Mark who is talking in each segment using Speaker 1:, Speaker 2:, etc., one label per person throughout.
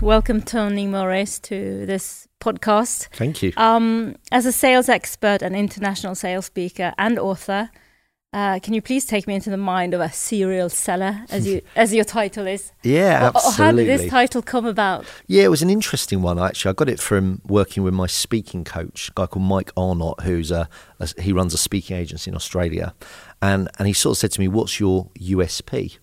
Speaker 1: Welcome, Tony Morris, to this podcast.
Speaker 2: Thank you.
Speaker 1: Um, as a sales expert and international sales speaker and author, uh, can you please take me into the mind of a serial seller, as you as your title is?
Speaker 2: yeah,
Speaker 1: Or- or how did
Speaker 2: absolutely.
Speaker 1: this title come about?
Speaker 2: Yeah, it was an interesting one actually. I got it from working with my speaking coach, a guy called Mike Arnott, who's a, a he runs a speaking agency in Australia, and and he sort of said to me, "What's your USP?"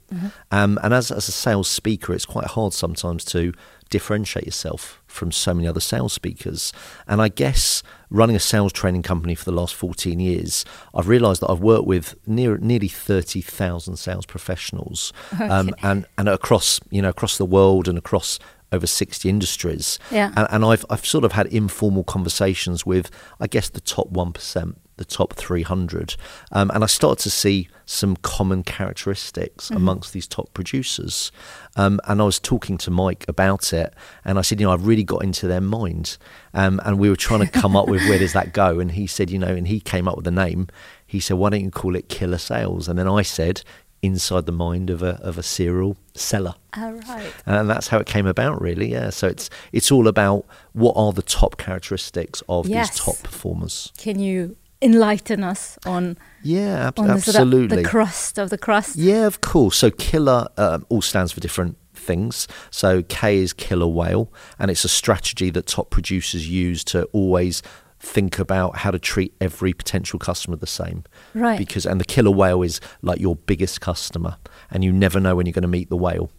Speaker 2: Um, and as as a sales speaker, it's quite hard sometimes to differentiate yourself from so many other sales speakers. And I guess running a sales training company for the last 14 years, I've realised that I've worked with near, nearly 30,000 sales professionals, um, and and across you know across the world and across over 60 industries.
Speaker 1: Yeah.
Speaker 2: And, and I've, I've sort of had informal conversations with, I guess, the top 1%, the top 300. Um, and I started to see some common characteristics amongst these top producers. Um, and I was talking to Mike about it. And I said, you know, I've really got into their mind. Um, and we were trying to come up with where does that go? And he said, you know, and he came up with a name. He said, why don't you call it Killer Sales? And then I said, inside the mind of a, of a serial seller
Speaker 1: All right.
Speaker 2: and that's how it came about really yeah so it's it's all about what are the top characteristics of
Speaker 1: Yes.
Speaker 2: these top performers
Speaker 1: Can you enlighten us on
Speaker 2: yeah ab-
Speaker 1: on the, sort of-
Speaker 2: absolutely
Speaker 1: the crust of the crust?
Speaker 2: yeah of course so killer um, all stands for different things so k is killer whale and it's a strategy that top producers use to always think about how to treat every potential customer the same
Speaker 1: Right.
Speaker 2: because and the killer whale is like your biggest customer and you never know when you're going to meet the whale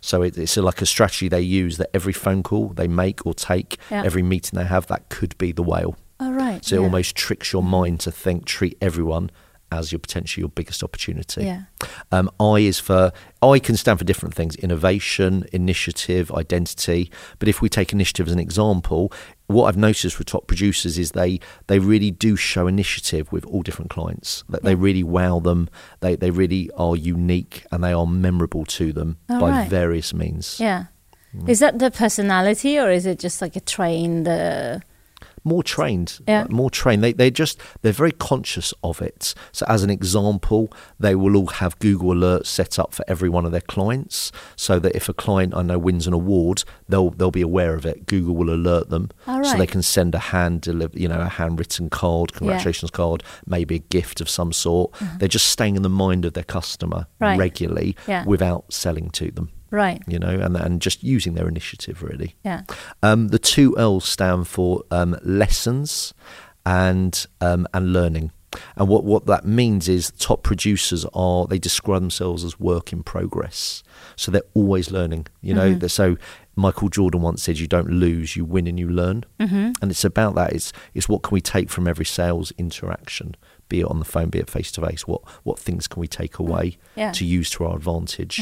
Speaker 2: so it, it's like a strategy they use that every phone call they make or take
Speaker 1: Yeah.
Speaker 2: every meeting they have that could be the whale
Speaker 1: All right.
Speaker 2: so it
Speaker 1: yeah.
Speaker 2: almost tricks your mind to think treat everyone as your potentially your biggest opportunity
Speaker 1: Yeah.
Speaker 2: um, I is for I can stand for different things: innovation, initiative, identity. But if we take initiative as an example, what I've noticed with top producers is they they really do show initiative with all different clients. That they really wow them. They they really are unique and they are memorable to them
Speaker 1: All
Speaker 2: by
Speaker 1: right.
Speaker 2: various means.
Speaker 1: Yeah.
Speaker 2: Mm.
Speaker 1: Is that the personality or is it just like a trained? Uh,
Speaker 2: more trained
Speaker 1: Yeah.
Speaker 2: like, more trained they, they're just they're very conscious of it so as an example they will all have google alerts set up for every one of their clients so that if a client i know wins an award they'll they'll be aware of it google will alert them
Speaker 1: All
Speaker 2: so they
Speaker 1: right.
Speaker 2: can send a hand deliver you know a handwritten card congratulations card maybe a gift of some sort they're just staying in the mind of their customer
Speaker 1: Mm-hmm. Right.
Speaker 2: regularly
Speaker 1: Yeah.
Speaker 2: without selling to them
Speaker 1: right.
Speaker 2: you know and and just using their initiative really
Speaker 1: Yeah.
Speaker 2: um, the two L's stand for um, lessons and um, and learning. And what, what that means is top producers are they describe themselves as work in progress, so they're always learning. You know, They're- so Michael Jordan once said, "You don't lose, you win, and you learn." Mm-hmm. And it's about that. It's it's what can we take from every sales interaction, be it on the phone, be it face to face. What what things can we take away
Speaker 1: Yeah.
Speaker 2: to use to our advantage?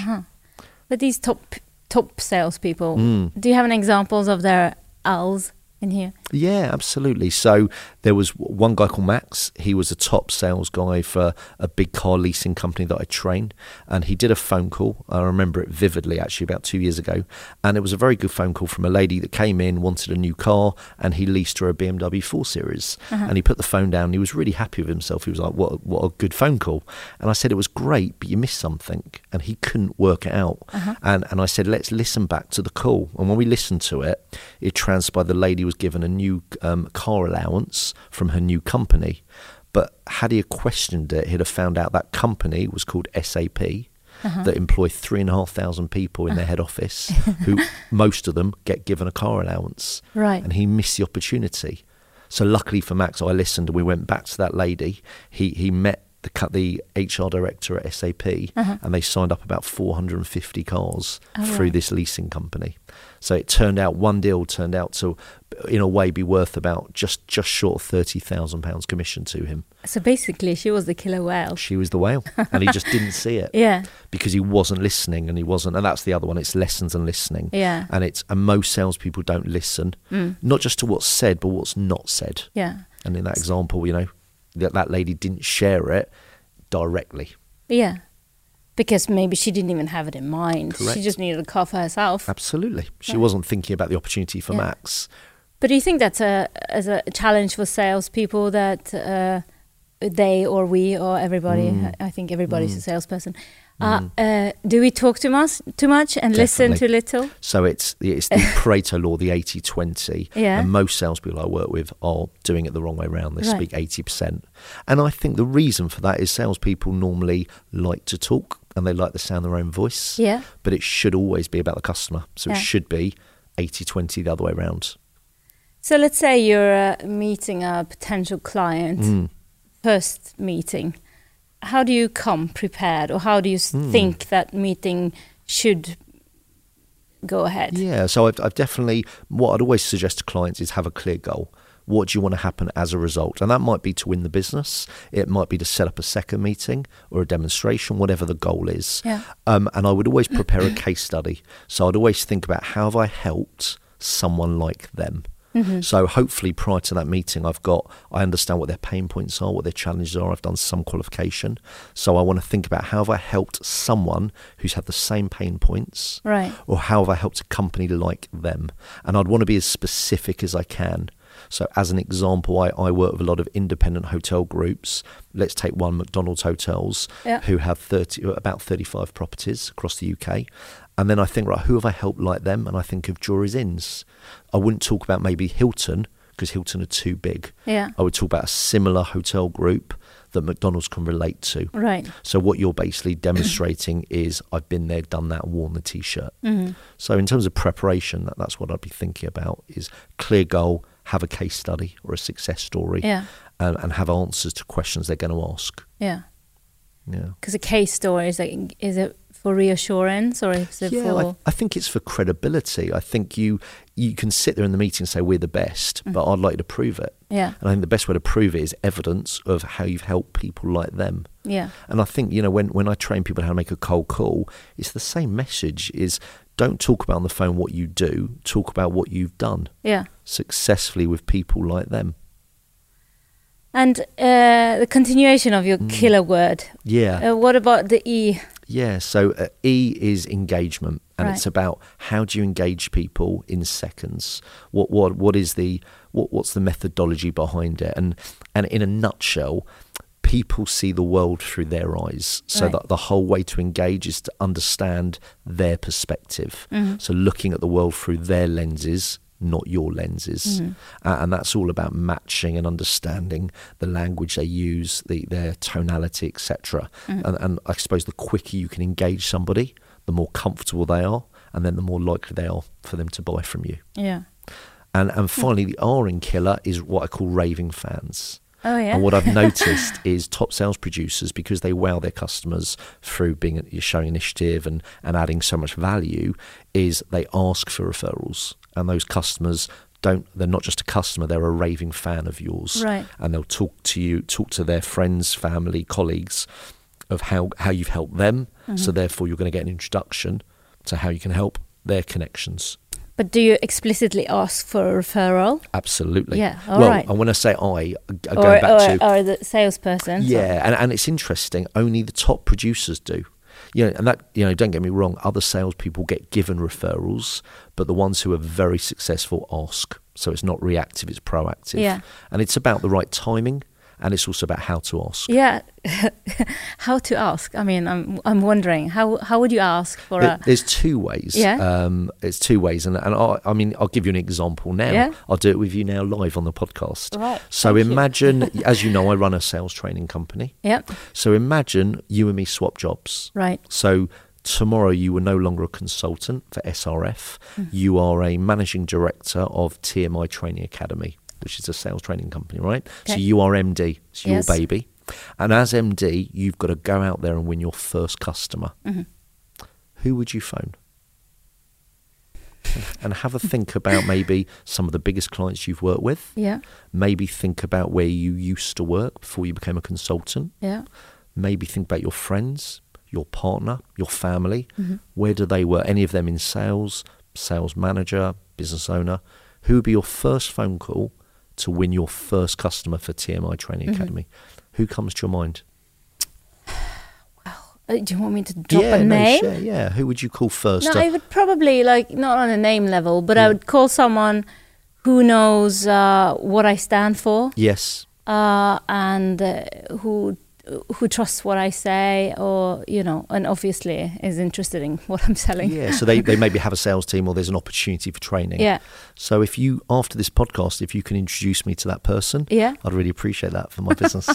Speaker 1: But these top top salespeople,
Speaker 2: Hmm.
Speaker 1: do you have any examples of their L's in here?
Speaker 2: Yeah, absolutely. So there was w- one guy called Max. He was a top sales guy for a big car leasing company that I train, and he did a phone call. I remember it vividly, actually, about two years ago, and it was a very good phone call from a lady that came in, wanted a new car, and he leased her a BMW 4 Series, and he put the phone down. And he was really happy with himself. He was like, "What, what a good phone call!" And I said, "It was great, but you missed something," and he couldn't work it out. And and I said, "Let's listen back to the call." And when we listened to it, it transpired the lady was given a new um, car allowance from her new company. But had he questioned it, he'd have found out that company was called SAP, that employ three and a half thousand people in their head office, who most of them get given a car allowance.
Speaker 1: Right.
Speaker 2: And he missed the opportunity. So luckily for Max, I listened and we went back to that lady. He he met the cu- the HR director at SAP, and they signed up about 450 cars
Speaker 1: Oh,
Speaker 2: through
Speaker 1: right.
Speaker 2: this leasing company. So it turned out one deal turned out to, in a way, be worth about just just short of thirty thousand pounds commission to him.
Speaker 1: So basically, she was the killer whale.
Speaker 2: She was the whale, and he just didn't see it
Speaker 1: Yeah.
Speaker 2: because he wasn't listening and he wasn't and that's the other one it's lessons and listening
Speaker 1: Yeah. Mm.
Speaker 2: and it's and most salespeople don't listen not just to what's said but what's not said
Speaker 1: Yeah.
Speaker 2: and in that example you know that that lady didn't share it directly
Speaker 1: Yeah. Because maybe she didn't even have it in mind. She
Speaker 2: Correct.
Speaker 1: just needed a car for herself.
Speaker 2: absolutely she wasn't thinking about the opportunity for
Speaker 1: Yeah.
Speaker 2: max
Speaker 1: But do you think that's a as a challenge for salespeople
Speaker 2: Hmm.
Speaker 1: that uh, they or we or everybody? I I think everybody's a salesperson. Uh, uh, do we talk too much, too much and listen too
Speaker 2: Definitely.
Speaker 1: little?
Speaker 2: So it's the, it's the Pareto law, the 80-20.
Speaker 1: Yeah.
Speaker 2: And most salespeople I work with are doing it the wrong way around. They
Speaker 1: Right.
Speaker 2: speak 80%. And I think the reason for that is salespeople normally like to talk and they like the sound of their own voice.
Speaker 1: Yeah.
Speaker 2: But it should always be about the customer. So
Speaker 1: Yeah.
Speaker 2: it should be 80-20 the other way around.
Speaker 1: So let's say you're uh, meeting a potential client,
Speaker 2: Hmm.
Speaker 1: first meeting. How do you come prepared, or how do you s
Speaker 2: Hmm.
Speaker 1: think that meeting should go ahead?
Speaker 2: Yeah, so I've, I've definitely, what I'd always suggest to clients is have a clear goal. What do you want to happen as a result? And that might be to win the business, it might be to set up a second meeting or a demonstration, whatever the goal is.
Speaker 1: Yeah.
Speaker 2: Um, and I would always prepare a case study. So I'd always think about how have I helped someone like them? So hopefully prior to that meeting, I've got I understand what their pain points are, what their challenges are. I've done some qualification, so I want to think about how have I helped someone who's had the same pain points,
Speaker 1: Right.
Speaker 2: or how have I helped a company like them? And I'd want to be as specific as I can. So, as an example, I, I work with a lot of independent hotel groups. Let's take one McDonald's Hotels,
Speaker 1: Yeah.
Speaker 2: who have 30, about 35 properties across the UK. And then I think, right, who have I helped like them? And I think of Jury's Inns. I wouldn't talk about maybe Hilton because Hilton are too big.
Speaker 1: Yeah.
Speaker 2: I would talk about a similar hotel group that McDonald's can relate to.
Speaker 1: Right.
Speaker 2: So what you're basically demonstrating is I've been there, done that, worn the t-shirt.
Speaker 1: mm-hmm,
Speaker 2: So in terms of preparation, that, that's what I'd be thinking about is clear goal, have a case study or a success story,
Speaker 1: Yeah.
Speaker 2: and, and have answers to questions they're going to ask.
Speaker 1: Yeah.
Speaker 2: Yeah.
Speaker 1: Because a case story is like, is it for reassurance or is it
Speaker 2: Yeah,
Speaker 1: for?
Speaker 2: I, I think it's for credibility. I think you you can sit there in the meeting and say we're the best,
Speaker 1: Mm-hmm.
Speaker 2: but I'd like you to prove it.
Speaker 1: Yeah.
Speaker 2: And I think the best way to prove it is evidence of how you've helped people like them.
Speaker 1: Yeah.
Speaker 2: And I think, you know, when, when I train people how to make a cold call, it's the same message is don't talk about on the phone what you do, talk about what you've done
Speaker 1: Yeah.
Speaker 2: successfully with people like them.
Speaker 1: And uh, the continuation of your killer word.
Speaker 2: Hmm. Yeah.
Speaker 1: Uh, what about the E?
Speaker 2: Yeah. So uh, E is engagement and
Speaker 1: Right.
Speaker 2: it's about how do you engage people in seconds? What what what is the what what's the methodology behind it? And and in a nutshell, people see the world through their eyes. So
Speaker 1: Right.
Speaker 2: that the whole way to engage is to understand their perspective.
Speaker 1: Mm-hmm.
Speaker 2: So looking at the world through their lenses, not your lenses. Uh, and that's all about matching and understanding the language they use, the, their tonality, etc. And, and I suppose the quicker you can engage somebody, the more comfortable they are, and then the more likely they are for them to buy from you.
Speaker 1: Yeah.
Speaker 2: And and finally, the R in killer is what I call raving fans.
Speaker 1: Oh, yeah.
Speaker 2: And what I've noticed is top sales producers, because they wow their customers through being showing initiative and, and adding so much value, is they ask for referrals. And those customers don't they're not just a customer, they're a raving fan of yours.
Speaker 1: Right.
Speaker 2: And they'll talk to you, talk to their friends, family, colleagues of how, how you've helped them.
Speaker 1: Mm-hmm.
Speaker 2: So therefore you're going to get an introduction to how you can help their connections.
Speaker 1: But do you explicitly ask for a referral
Speaker 2: Absolutely.
Speaker 1: Yeah, all
Speaker 2: well,
Speaker 1: right.
Speaker 2: and when I say I, I'm Uh, going
Speaker 1: or,
Speaker 2: back
Speaker 1: or,
Speaker 2: to
Speaker 1: or the salesperson?
Speaker 2: yeah, and, and it's interesting. Only the top producers do. You know, and that you know, don't get me wrong. Other salespeople get given referrals, but the ones who are very successful ask. So it's not reactive; it's proactive.
Speaker 1: Yeah.
Speaker 2: and it's about the right timing, and it's also about how to ask.
Speaker 1: Yeah. how to ask? I mean, I'm I'm wondering how how would you ask for
Speaker 2: There-
Speaker 1: a
Speaker 2: There's two ways.
Speaker 1: Yeah.
Speaker 2: Um, it's two ways, and and I, I mean, I'll give you an example now.
Speaker 1: Yeah.
Speaker 2: I'll do it with you now live on the podcast.
Speaker 1: Right,
Speaker 2: So
Speaker 1: thank you.
Speaker 2: imagine, as you know, I run a sales training company.
Speaker 1: yeah
Speaker 2: So imagine you and me swap jobs.
Speaker 1: right
Speaker 2: So tomorrow you are no longer a consultant for SRF.
Speaker 1: Hmm.
Speaker 2: You are a managing director of TMI Training Academy, which is a sales training company, right? So
Speaker 1: Okay.
Speaker 2: you are MD. It's your
Speaker 1: Yes.
Speaker 2: baby. And as MD, you've got to go out there and win your first customer.
Speaker 1: Mm-hmm.
Speaker 2: Who would you phone? And- And have a think about maybe some of the biggest clients you've worked with.
Speaker 1: yeah
Speaker 2: Maybe think about where you used to work before you became a consultant
Speaker 1: yeah
Speaker 2: maybe think about your friends, your partner, your family.
Speaker 1: Mm-hmm.
Speaker 2: Where do they work? Any of them in sales, sales manager, business owner? Who would be your first phone call to win your first customer for TMI Training
Speaker 1: Mm-hmm.
Speaker 2: Academy? Who comes to your mind?
Speaker 1: Uh, do you want me to drop a
Speaker 2: no,
Speaker 1: name?
Speaker 2: share, yeah. Who would you call first?
Speaker 1: No,
Speaker 2: Uh,
Speaker 1: I would probably like not on a name level, but I would call someone who knows uh, what I stand for
Speaker 2: yes.
Speaker 1: uh, and uh, who who trusts what I say, or you know, and obviously is interested in what I'm selling.
Speaker 2: Yeah, so they, they maybe have a sales team or there's an opportunity for training.
Speaker 1: Yeah.
Speaker 2: So if you, after this podcast, if you can introduce me to that person,
Speaker 1: Yeah.
Speaker 2: I'd really appreciate that for my business.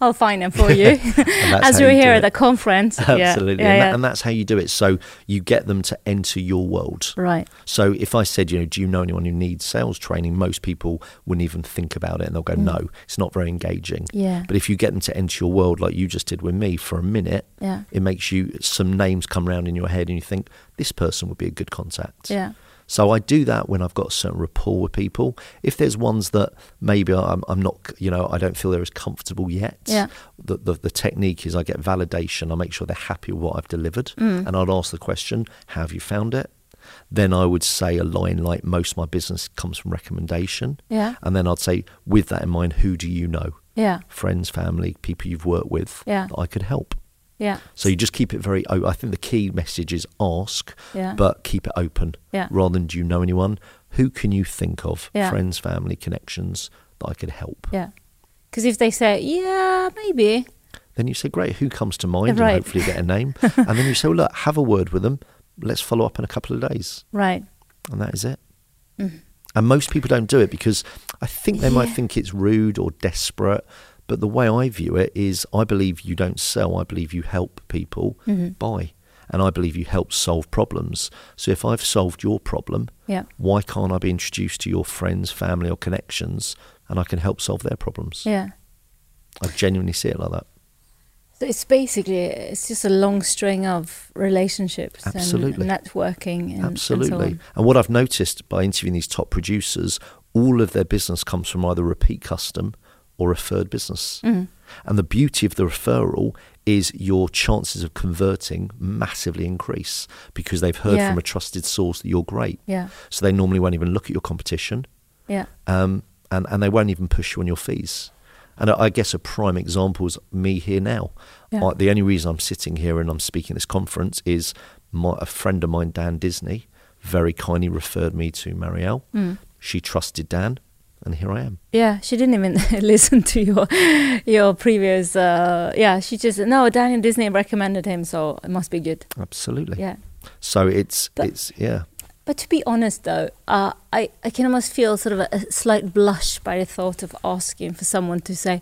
Speaker 1: I'll find them for you.
Speaker 2: that's
Speaker 1: As
Speaker 2: how
Speaker 1: we're
Speaker 2: you do
Speaker 1: here
Speaker 2: it.
Speaker 1: at the conference. Yeah,
Speaker 2: Absolutely.
Speaker 1: Yeah,
Speaker 2: and,
Speaker 1: yeah.
Speaker 2: That, and that's how you do it. So you get them to enter your world.
Speaker 1: right.
Speaker 2: So if I said, you know, do you know anyone who needs sales training? Most people wouldn't even think about it and they'll go, no, it's not very engaging.
Speaker 1: Mm. Yeah.
Speaker 2: But if you get them to enter your world like you just did with me for a minute,
Speaker 1: Yeah.
Speaker 2: it makes you some names come round in your head and you think this person would be a good contact.
Speaker 1: Yeah.
Speaker 2: So I do that when I've got a certain rapport with people. If there's ones that maybe I'm, I'm not, you know, I don't feel they're as comfortable yet.
Speaker 1: Yeah.
Speaker 2: The, the, the technique is I get validation. I make sure they're happy with what I've delivered.
Speaker 1: Mm.
Speaker 2: And I'd ask the question, how have you found it? Then I would say a line like, most of my business comes from recommendation.
Speaker 1: Yeah.
Speaker 2: And then I'd say, with that in mind, who do you know?
Speaker 1: Yeah.
Speaker 2: Friends, family, people you've worked with
Speaker 1: Yeah.
Speaker 2: that I could help.
Speaker 1: Yeah.
Speaker 2: So you just keep it very. o- I think the key message is ask,
Speaker 1: Yeah.
Speaker 2: but keep it open.
Speaker 1: Yeah.
Speaker 2: Rather than do you know anyone? Who can you think of?
Speaker 1: Yeah.
Speaker 2: Friends, family, connections that I could help.
Speaker 1: Yeah. Because if they say, yeah, maybe.
Speaker 2: Then you say, great. Who comes to mind?
Speaker 1: Right.
Speaker 2: And hopefully get a name. and then you say, well, look, have a word with them. Let's follow up in a couple of days,
Speaker 1: Right.
Speaker 2: and that is it. And most people don't do it because I think they
Speaker 1: Mm-hmm.
Speaker 2: might
Speaker 1: Yeah.
Speaker 2: think it's rude or desperate. But the way I view it is, I believe you don't sell. I believe you help people
Speaker 1: Mm-hmm.
Speaker 2: buy, and I believe you help solve problems. So if I've solved your problem,
Speaker 1: Yeah.
Speaker 2: why can't I be introduced to your friends, family, or connections, and I can help solve their problems?
Speaker 1: Yeah.
Speaker 2: I genuinely see it like that.
Speaker 1: So it's basically it's just a long string of relationships and-
Speaker 2: Absolutely.
Speaker 1: and networking and
Speaker 2: Absolutely.
Speaker 1: And so on.
Speaker 2: And what I've noticed by interviewing these top producers, all of their business comes from either repeat custom or referred business.
Speaker 1: Mm. Mm-hmm.
Speaker 2: And the beauty of the referral is your chances of converting massively increase because they've heard
Speaker 1: Yeah.
Speaker 2: from a trusted source that you're great.
Speaker 1: Yeah.
Speaker 2: So they normally won't even look at your competition
Speaker 1: Yeah.
Speaker 2: um, and, and they won't even push you on your fees. And I I guess a prime example is me here now.
Speaker 1: Yeah.
Speaker 2: I, the only reason I'm sitting here and I'm speaking at this conference is my, a friend of mine, Dan Disney, very kindly referred me to Marielle.
Speaker 1: Hmm.
Speaker 2: She trusted Dan, and here I am.
Speaker 1: Yeah, she didn't even listen to your your previous. Uh, yeah, she just no. Daniel Disney recommended him, so it must be good.
Speaker 2: Absolutely.
Speaker 1: Yeah,
Speaker 2: So it's
Speaker 1: But-
Speaker 2: it's yeah.
Speaker 1: but to be honest though, uh, I I can almost feel sort of a, a slight blush by the thought of asking for someone to say,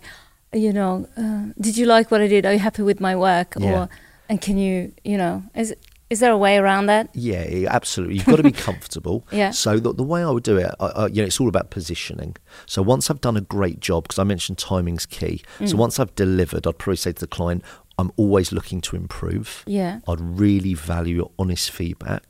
Speaker 1: you know, uh, did you like what I did? Are you happy with my work?
Speaker 2: Yeah.
Speaker 1: Or and can you, you know, is is there a way around that?
Speaker 2: Yeah, i- absolutely. You've got to be comfortable.
Speaker 1: Yeah.
Speaker 2: So the, the way I would do it, I, I, you know, it's all about positioning. So once I've done a great job, because I mentioned timing's key. So once I've delivered, I'd probably say to the client, I'm always looking to improve.
Speaker 1: Yeah.
Speaker 2: I'd really value your honest feedback.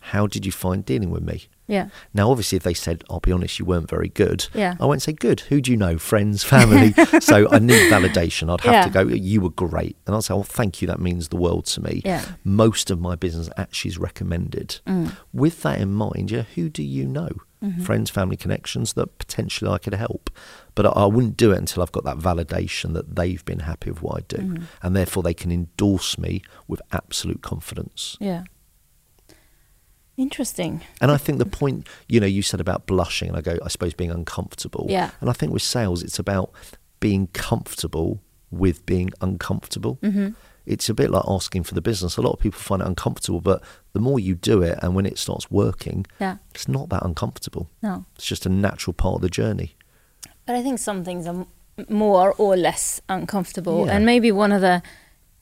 Speaker 2: How did you find dealing with me?
Speaker 1: Yeah,
Speaker 2: Now, obviously, if they said, I'll be honest, you weren't very good,
Speaker 1: Yeah.
Speaker 2: I won't say good. Who do you know? Friends, family. so I need validation. I'd have
Speaker 1: Yeah.
Speaker 2: to go, you were great. And I'll say, well, thank you. That means the world to me.
Speaker 1: Yeah. Mm.
Speaker 2: Most of my business actually is recommended. With that in mind, yeah, who do you know?
Speaker 1: Mm-hmm.
Speaker 2: Friends, family connections that potentially I could help. But I, I wouldn't do it until I've got that validation that they've been happy with what I do.
Speaker 1: Mm-hmm.
Speaker 2: And therefore, they can endorse me with absolute confidence.
Speaker 1: yeah. Interesting.
Speaker 2: And I think the point, you know, you said about blushing, and I go, I suppose being uncomfortable.
Speaker 1: Yeah.
Speaker 2: And I think with sales, it's about being comfortable with being uncomfortable. Mm-hmm. It's a bit like asking for the business. A lot of people find it uncomfortable, but the more you do it, and when it starts working,
Speaker 1: Yeah.
Speaker 2: it's not that uncomfortable.
Speaker 1: No.
Speaker 2: It's just a natural part of the journey.
Speaker 1: But I think some things are m- more or less uncomfortable,
Speaker 2: Yeah.
Speaker 1: and maybe one of the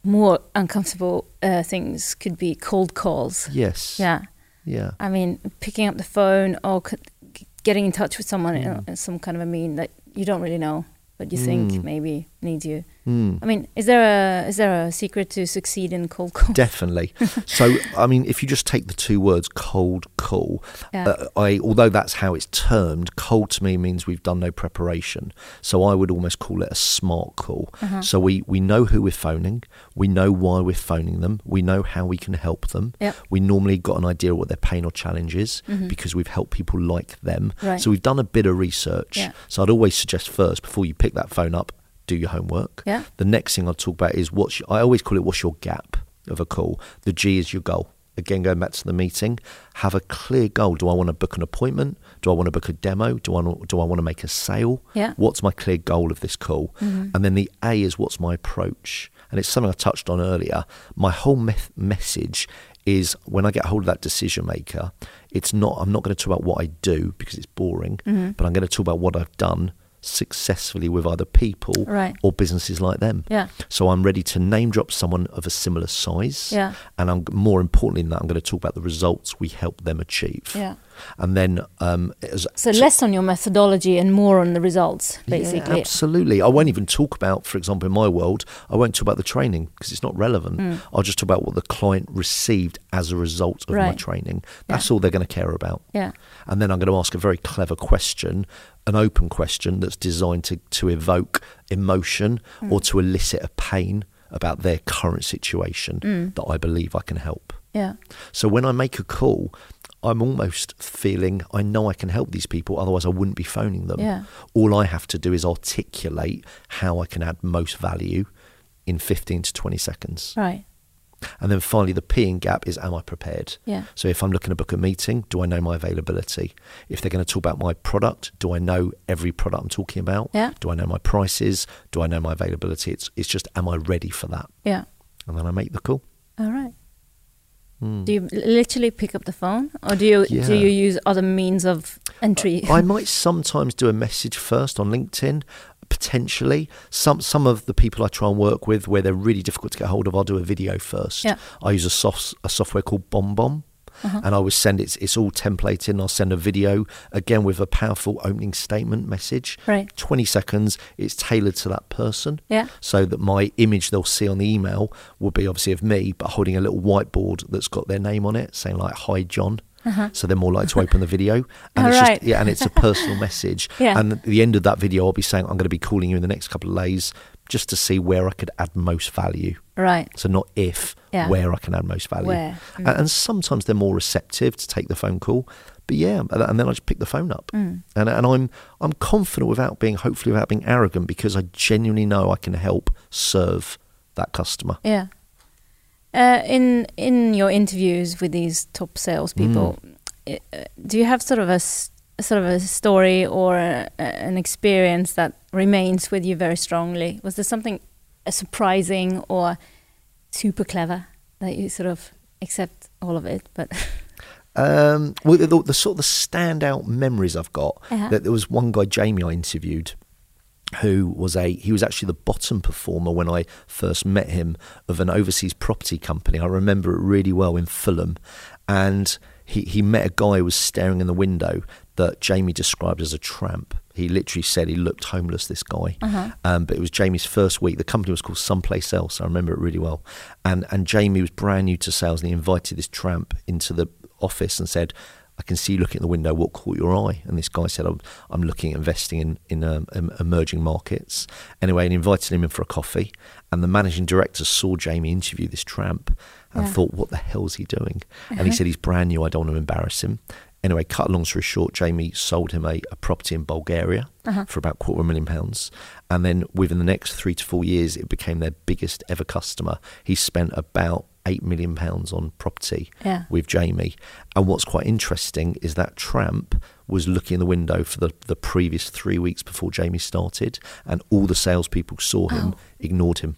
Speaker 1: more uncomfortable uh, things could be cold calls.
Speaker 2: Yes.
Speaker 1: Yeah,
Speaker 2: Yeah.
Speaker 1: I mean, picking up the phone or c- g- getting in touch with someone in,
Speaker 2: Mm.
Speaker 1: in some kind of a mean that you don't really know, but you think maybe needs you.
Speaker 2: Hmm.
Speaker 1: I mean, is there a is there a secret to succeed in cold calls?
Speaker 2: Definitely. so, I mean, if you just take the two words cold call,
Speaker 1: Yeah.
Speaker 2: uh, I although that's how it's termed, cold to me means we've done no preparation. So I would almost call it a smart call.
Speaker 1: Uh-huh.
Speaker 2: So we, we know who we're phoning, we know why we're phoning them, we know how we can help them.
Speaker 1: Yep. Mm-hmm.
Speaker 2: We normally got an idea what their pain or challenge is because we've helped people like them.
Speaker 1: Right.
Speaker 2: So we've done a bit of research.
Speaker 1: Yeah.
Speaker 2: So I'd always suggest first before you pick that phone up, do your homework.
Speaker 1: Yeah.
Speaker 2: The next thing I'll talk about is what's I always call it what's your gap of a call. The G is your goal. again going back to the meeting have a clear goal do i want to book an appointment do i want to book a demo do i want, do i want to make a sale
Speaker 1: Yeah. Mm-hmm.
Speaker 2: what's my clear goal of this call and then the a is what's my approach and it's something i touched on earlier my whole meth- message is when i get hold of that decision maker it's not i'm not going to talk about what i do because it's boring
Speaker 1: Mm-hmm.
Speaker 2: but i'm going to talk about what i've done successfully with other people
Speaker 1: Right.
Speaker 2: or businesses like them
Speaker 1: Yeah.
Speaker 2: so i'm ready to name drop someone of a similar size
Speaker 1: Yeah.
Speaker 2: and I'm more importantly than that, I'm going to talk about the results we help them achieve.
Speaker 1: Yeah.
Speaker 2: And then, um, as,
Speaker 1: So less on your methodology and more on the results,
Speaker 2: Yeah,
Speaker 1: basically.
Speaker 2: absolutely. I won't even talk about, for example, in my world, I won't talk about the training because it's not relevant.
Speaker 1: Mm.
Speaker 2: I'll just talk about what the client received as a result of my
Speaker 1: Right.
Speaker 2: training. That's all they're going to care about.
Speaker 1: Yeah.
Speaker 2: And then I'm going to ask a very clever question, an open question that's designed to, to evoke emotion or to elicit a pain about their current situation that I believe I can help.
Speaker 1: Yeah.
Speaker 2: So when I make a call, I'm almost feeling I know I can help these people, otherwise I wouldn't be phoning them.
Speaker 1: Yeah.
Speaker 2: All I have to do is articulate how I can add most value in 15 to 20 seconds.
Speaker 1: Right.
Speaker 2: And then finally, the P in gap is am I prepared?
Speaker 1: Yeah.
Speaker 2: So if I'm looking to book a meeting, do I know my availability? If they're going to talk about my product, do I know every product I'm talking about?
Speaker 1: Yeah.
Speaker 2: Do I know my prices? Do I know my availability? It's, it's just am I ready for that?
Speaker 1: Yeah.
Speaker 2: And then I make the call.
Speaker 1: All right. Do you literally pick up the phone, or do you
Speaker 2: Hmm. Yeah.
Speaker 1: do you use other means of entry?
Speaker 2: Uh, I might sometimes do a message first on LinkedIn, potentially. Some some of the people I try and work with, where they're really difficult to get hold of, I'll do a video first.
Speaker 1: Yeah. Uh-huh.
Speaker 2: I use a soft, a software called BombBomb. And I would send it's it's all templated and I'll send a video again with a powerful opening statement message.
Speaker 1: Right.
Speaker 2: Twenty seconds, it's tailored to that person.
Speaker 1: Yeah.
Speaker 2: So that my image they'll see on the email will be obviously of me, but holding a little whiteboard that's got their name on it, saying like hi John. So they're more likely to open the video. And
Speaker 1: All
Speaker 2: it's
Speaker 1: right.
Speaker 2: just yeah, and it's a personal message.
Speaker 1: Yeah.
Speaker 2: And at the end of that video, I'll be saying, I'm going to be calling you in the next couple of days just to see where I could add most value.
Speaker 1: right.
Speaker 2: So, not if,
Speaker 1: Yeah.
Speaker 2: where I can add most value.
Speaker 1: Where, Mm.
Speaker 2: A- And, sometimes they're more receptive to take the phone call. But yeah, and and then I just pick the phone up.
Speaker 1: Mm.
Speaker 2: And, and I'm, I'm confident without being, hopefully, without being arrogant because I genuinely know I can help serve that customer.
Speaker 1: Yeah. Uh, in in your interviews with these top salespeople,
Speaker 2: Hmm.
Speaker 1: i- uh do you have sort of a s- sort of a story or a, a- an experience that remains with you very strongly? Was there something uh, surprising or super clever that you sort of accept all of it? But
Speaker 2: Um, well, the, the, the sort of the standout memories I've got
Speaker 1: Uh-huh.
Speaker 2: that there was one guy Jamie I interviewed who was a he was actually the bottom performer when I first met him of an overseas property company. I remember it really well in Fulham, and he he met a guy who was staring in the window that Jamie described as a tramp. He literally said he looked homeless. This guy, um, but it was Jamie's first week. The company was called Someplace Else. I remember it really well, and and Jamie was brand new to sales, and he invited this tramp into the office and said. I can see you looking at the window. What caught your eye? And this guy said, "I'm, I'm looking at investing in in um, em- emerging markets." Anyway, and invited him in for a coffee. And the managing director saw Jamie interview this tramp and
Speaker 1: Yeah.
Speaker 2: thought, "What the hell's he doing?" And he said, "He's brand new. I don't want to embarrass him." Anyway, cut a long story short, Jamie sold him a, a property in Bulgaria for about quarter of a million pounds. And then within the next three to four years, it became their biggest ever customer. He spent about £8 million pounds on property
Speaker 1: Yeah.
Speaker 2: with Jamie. And what's quite interesting is that Tramp was looking in the window for the, the previous three weeks before Jamie started, and all the salespeople saw him, ignored him.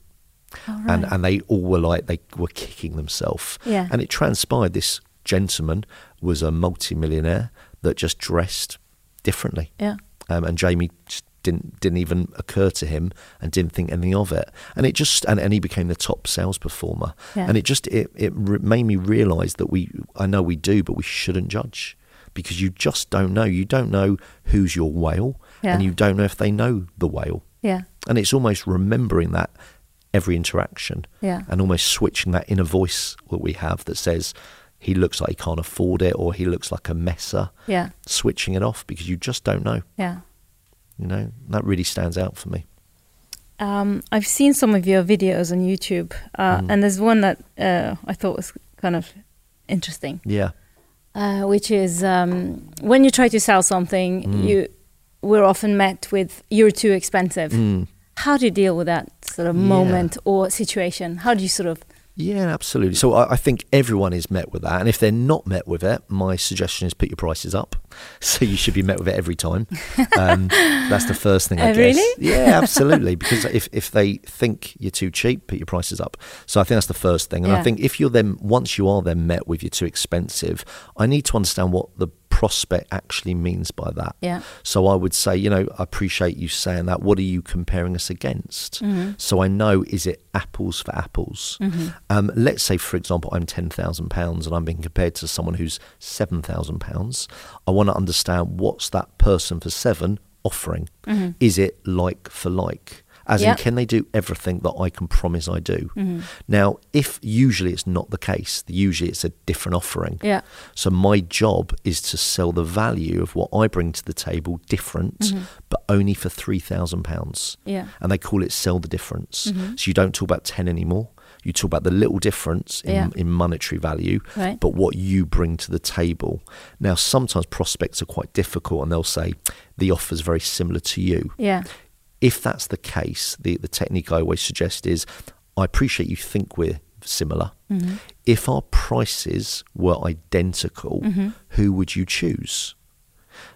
Speaker 1: all
Speaker 2: And, and they all were like, they were kicking themselves.
Speaker 1: Yeah.
Speaker 2: And it transpired this gentleman was a multimillionaire that just dressed differently
Speaker 1: yeah,
Speaker 2: um, and Jamie just didn't didn't even occur to him and didn't think anything of it and it just and, and he became the top sales performer
Speaker 1: Yeah.
Speaker 2: and it just it, it re- made me realize that we I know we do but we shouldn't judge because you just don't know you don't know who's your whale
Speaker 1: Yeah.
Speaker 2: and you don't know if they know the whale
Speaker 1: yeah,
Speaker 2: and it's almost remembering that every interaction
Speaker 1: Yeah.
Speaker 2: and almost switching that inner voice that we have that says he looks like he can't afford it or he looks like a messer
Speaker 1: yeah,
Speaker 2: switching it off because you just don't know
Speaker 1: yeah.
Speaker 2: you know that really stands out for me
Speaker 1: Um, I've seen some of your videos on YouTube, uh,
Speaker 2: Mm.
Speaker 1: and there's one that uh, I thought was kind of interesting,
Speaker 2: yeah
Speaker 1: uh, which is um, when you try to sell something,
Speaker 2: Mm.
Speaker 1: you we're often met with "you're too
Speaker 2: Hmm.
Speaker 1: expensive." How do you deal with that sort of
Speaker 2: Mm. Yeah.
Speaker 1: moment or situation? How do you sort of
Speaker 2: Yeah, absolutely. So I, I think everyone is met with that. And if they're not met with it, my suggestion is put your prices up. So you should be met with it every time. Um, that's the first thing I
Speaker 1: Uh,
Speaker 2: guess.
Speaker 1: really?
Speaker 2: Yeah, absolutely. because if, if they think you're too cheap, put your prices up. So I think that's the first thing. And I
Speaker 1: Yeah.
Speaker 2: think if you're then, once you are then met with you're too expensive, I need to understand what the prospect actually means by that.
Speaker 1: Yeah.
Speaker 2: So I would say, you know, I appreciate you saying that. What are you comparing us against? So I know, is it apples for apples? Um, let's say, for example, I'm £10,000 and I'm being compared to someone who's £7,000. I want to understand what's that person for seven offering? Is it like for like? As
Speaker 1: Yeah.
Speaker 2: in, can they do everything that I can promise I do? Now, if usually it's not the case, usually it's a different offering.
Speaker 1: Yeah.
Speaker 2: So my job is to sell the value of what I bring to the table different,
Speaker 1: Mm-hmm.
Speaker 2: but only for three thousand pounds.
Speaker 1: Yeah.
Speaker 2: And they call it sell the difference.
Speaker 1: Mm-hmm.
Speaker 2: So you don't talk about ten anymore. You talk about the little difference in,
Speaker 1: Yeah.
Speaker 2: in monetary value,
Speaker 1: Right.
Speaker 2: but what you bring to the table. Now, sometimes prospects are quite difficult, and they'll say the offer's very similar to you.
Speaker 1: Yeah.
Speaker 2: If that's the case, the, the technique I always suggest is I appreciate you think we're similar.
Speaker 1: Mm-hmm.
Speaker 2: If our prices were identical,
Speaker 1: Mm-hmm.
Speaker 2: who would you choose?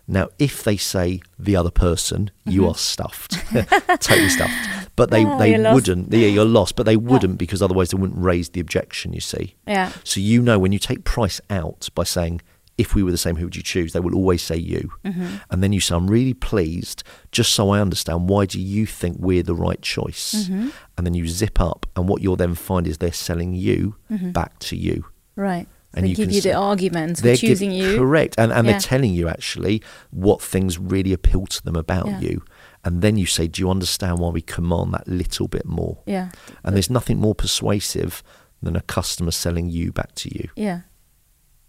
Speaker 2: Now, if they say the other person, you are stuffed, totally stuffed. But they,
Speaker 1: Mm-hmm. Oh,
Speaker 2: they
Speaker 1: you're lost.
Speaker 2: wouldn't, yeah, you're lost, but they wouldn't because otherwise they wouldn't raise the objection, you see.
Speaker 1: Yeah.
Speaker 2: So you know when you take price out by saying, if we were the same, who would you choose? They will always say you.
Speaker 1: Mm-hmm.
Speaker 2: And then you say, I'm really pleased, just so I understand, why do you think we're the right choice?
Speaker 1: Mm-hmm.
Speaker 2: And then you zip up, and what you'll then find is they're selling you
Speaker 1: Mm-hmm.
Speaker 2: back to you.
Speaker 1: Right.
Speaker 2: And
Speaker 1: they
Speaker 2: you
Speaker 1: give
Speaker 2: can
Speaker 1: you the
Speaker 2: say-
Speaker 1: arguments for
Speaker 2: giv-
Speaker 1: choosing you.
Speaker 2: Correct. And, and
Speaker 1: Yeah.
Speaker 2: they're telling you actually what things really appeal to them about
Speaker 1: Yeah.
Speaker 2: you. And then you say, Do you understand why we command that little bit more?
Speaker 1: Yeah.
Speaker 2: And there's nothing more persuasive than a customer selling you back to you.
Speaker 1: Yeah.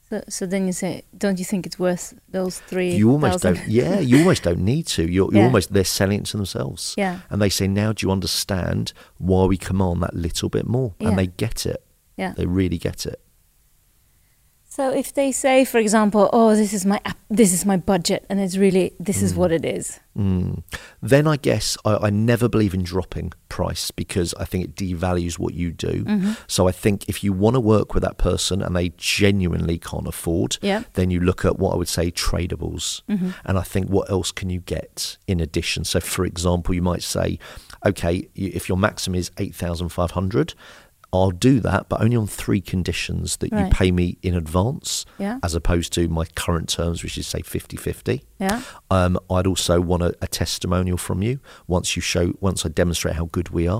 Speaker 1: So, so then you say, don't you think it's worth those three?
Speaker 2: you almost
Speaker 1: thousand?
Speaker 2: don't yeah you almost don't need to you're, you're
Speaker 1: Yeah.
Speaker 2: almost they're selling it to themselves
Speaker 1: Yeah.
Speaker 2: and they say now do you understand why we command that little bit more
Speaker 1: Yeah.
Speaker 2: and they get it
Speaker 1: Yeah.
Speaker 2: they really get it
Speaker 1: So if they say, for example, oh, this is my app, this is my budget, and it's really this is what it is.
Speaker 2: Mm. Then I guess I, I never believe in dropping price because I think it devalues what you do.
Speaker 1: Mm-hmm.
Speaker 2: So I think if you want to work with that person and they genuinely can't afford,
Speaker 1: Yeah. Mm-hmm.
Speaker 2: then you look at what I would say tradables. And I think what else can you get in addition? So for example, you might say, okay, you- if your maximum is 8,500, I'll do that, but only on three conditions that you
Speaker 1: Right.
Speaker 2: pay me in advance
Speaker 1: Yeah.
Speaker 2: as opposed to my current terms, which is say 50 50.
Speaker 1: Yeah.
Speaker 2: Um, I'd also want a, a testimonial from you once you show, once I demonstrate how good we are.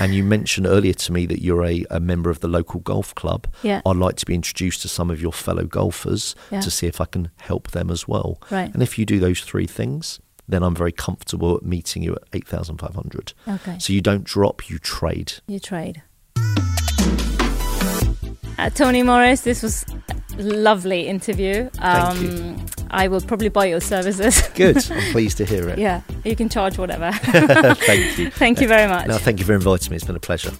Speaker 2: and you mentioned earlier to me that you're a, a member of the local golf club.
Speaker 1: Yeah.
Speaker 2: I'd like to be introduced to some of your fellow golfers
Speaker 1: Yeah.
Speaker 2: to see if I can help them as well.
Speaker 1: Right.
Speaker 2: And if you do those three things, then I'm very comfortable at meeting you at 8,500.
Speaker 1: Okay.
Speaker 2: So you don't drop, you trade.
Speaker 1: You trade. Uh, Tony Morris, this was a lovely interview. Um,
Speaker 2: Thank you.
Speaker 1: I will probably buy your services.
Speaker 2: Good. I'm pleased to hear it.
Speaker 1: yeah, you can charge whatever.
Speaker 2: thank you.
Speaker 1: Thank you very much.
Speaker 2: No, thank you for inviting me. It's been a pleasure.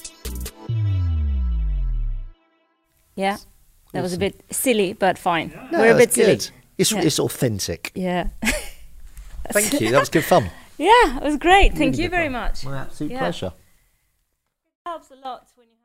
Speaker 1: yeah, that was a bit silly, but fine.
Speaker 2: No,
Speaker 1: We're a bit
Speaker 2: that's
Speaker 1: silly.
Speaker 2: good. It's,
Speaker 1: Yeah.
Speaker 2: it's authentic.
Speaker 1: Yeah.
Speaker 2: Thank you. That was good fun.
Speaker 1: Yeah, it was great. Thank you very much.
Speaker 2: My absolute
Speaker 1: Yeah.
Speaker 2: pleasure.
Speaker 1: helps a lot when you